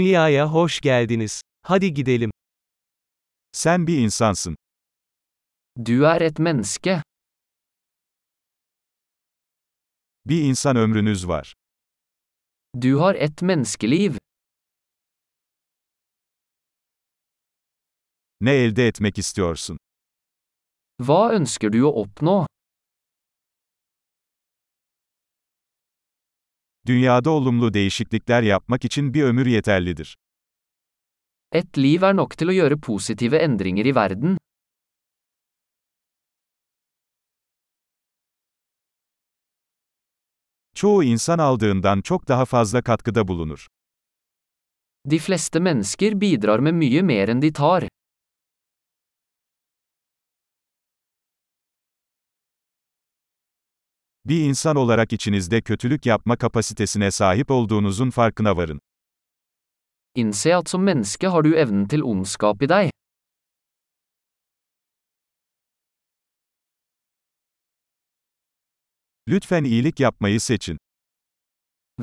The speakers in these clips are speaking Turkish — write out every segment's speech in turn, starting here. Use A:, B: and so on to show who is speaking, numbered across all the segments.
A: Dünyaya hoş geldiniz. Hadi gidelim.
B: Sen bir insansın.
C: Du er et menneske.
B: Bir insan ömrünüz var.
C: Du har et menneskeliv.
B: Ne elde etmek istiyorsun?
C: Hva ønsker du å oppnå?
B: Dünyada olumlu değişiklikler yapmak için bir ömür yeterlidir.
C: Et liv er nok til å gjøre positive endringer i verden.
B: Çoğu insan aldığından çok daha fazla katkıda bulunur.
C: De fleste mennesker bidrar med mye mer enn de tar.
B: Bir insan olarak içinizde kötülük yapma kapasitesine sahip olduğunuzun farkına varın.
C: Innse at som menneske har du evnen til ondskap i deg.
B: Lütfen iyilik yapmayı seçin.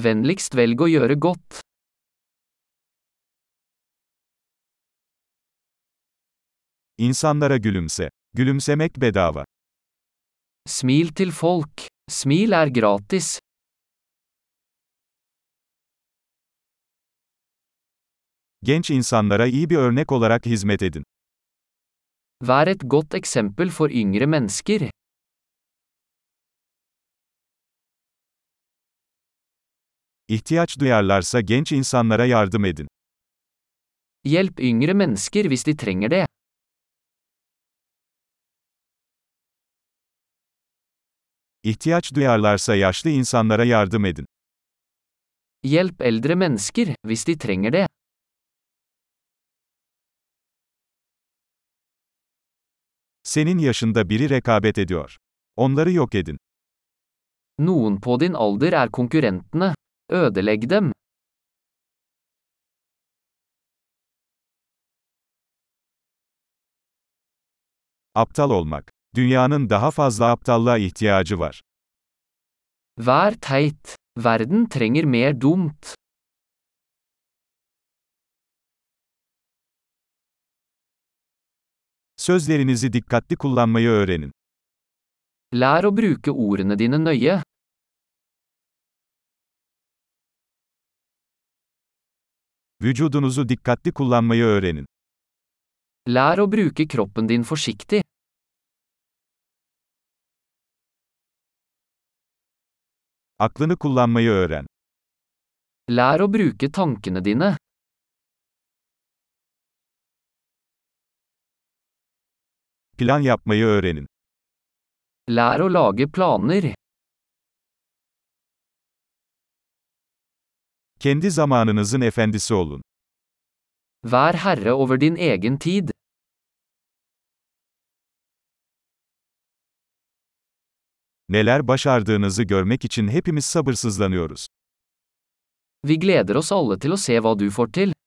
C: Vennligst velg å gjøre godt.
B: İnsanlara gülümse. Gülümsemek bedava.
C: Smil til folk. Smil er gratis.
B: Genç insanlara iyi bir örnek olarak hizmet edin.
C: Vær et godt eksempel for yngre mennesker.
B: İhtiyaç duyarlarsa genç insanlara yardım edin.
C: Hjelp yngre mennesker hvis de trenger det.
B: İhtiyaç duyarlarsa yaşlı insanlara yardım edin.
C: Hjelp eldre mennesker hvis de trenger det.
B: Senin yaşında biri rekabet ediyor. Onları yok edin.
C: Noen på din alder er konkurrentene. Ødelegg dem.
B: Aptal olmak. Dünyanın daha fazla aptallığa ihtiyacı var.
C: Vær teit. Verden trenger mer dumt.
B: Sözlerinizi dikkatli kullanmayı öğrenin.
C: Lær å bruke ordene dine nøye.
B: Vücudunuzu dikkatli kullanmayı öğrenin.
C: Lær å bruke kroppen din forsiktig.
B: Aklını kullanmayı öğren.
C: Lær å bruke tankene dine.
B: Plan yapmayı öğrenin.
C: Lær å lage planer.
B: Kendi zamanınızın efendisi olun.
C: Vær herre over din egen tid.
B: Neler başardığınızı görmek için hepimiz sabırsızlanıyoruz.
C: Vi gleder oss alle til å se hva du får til.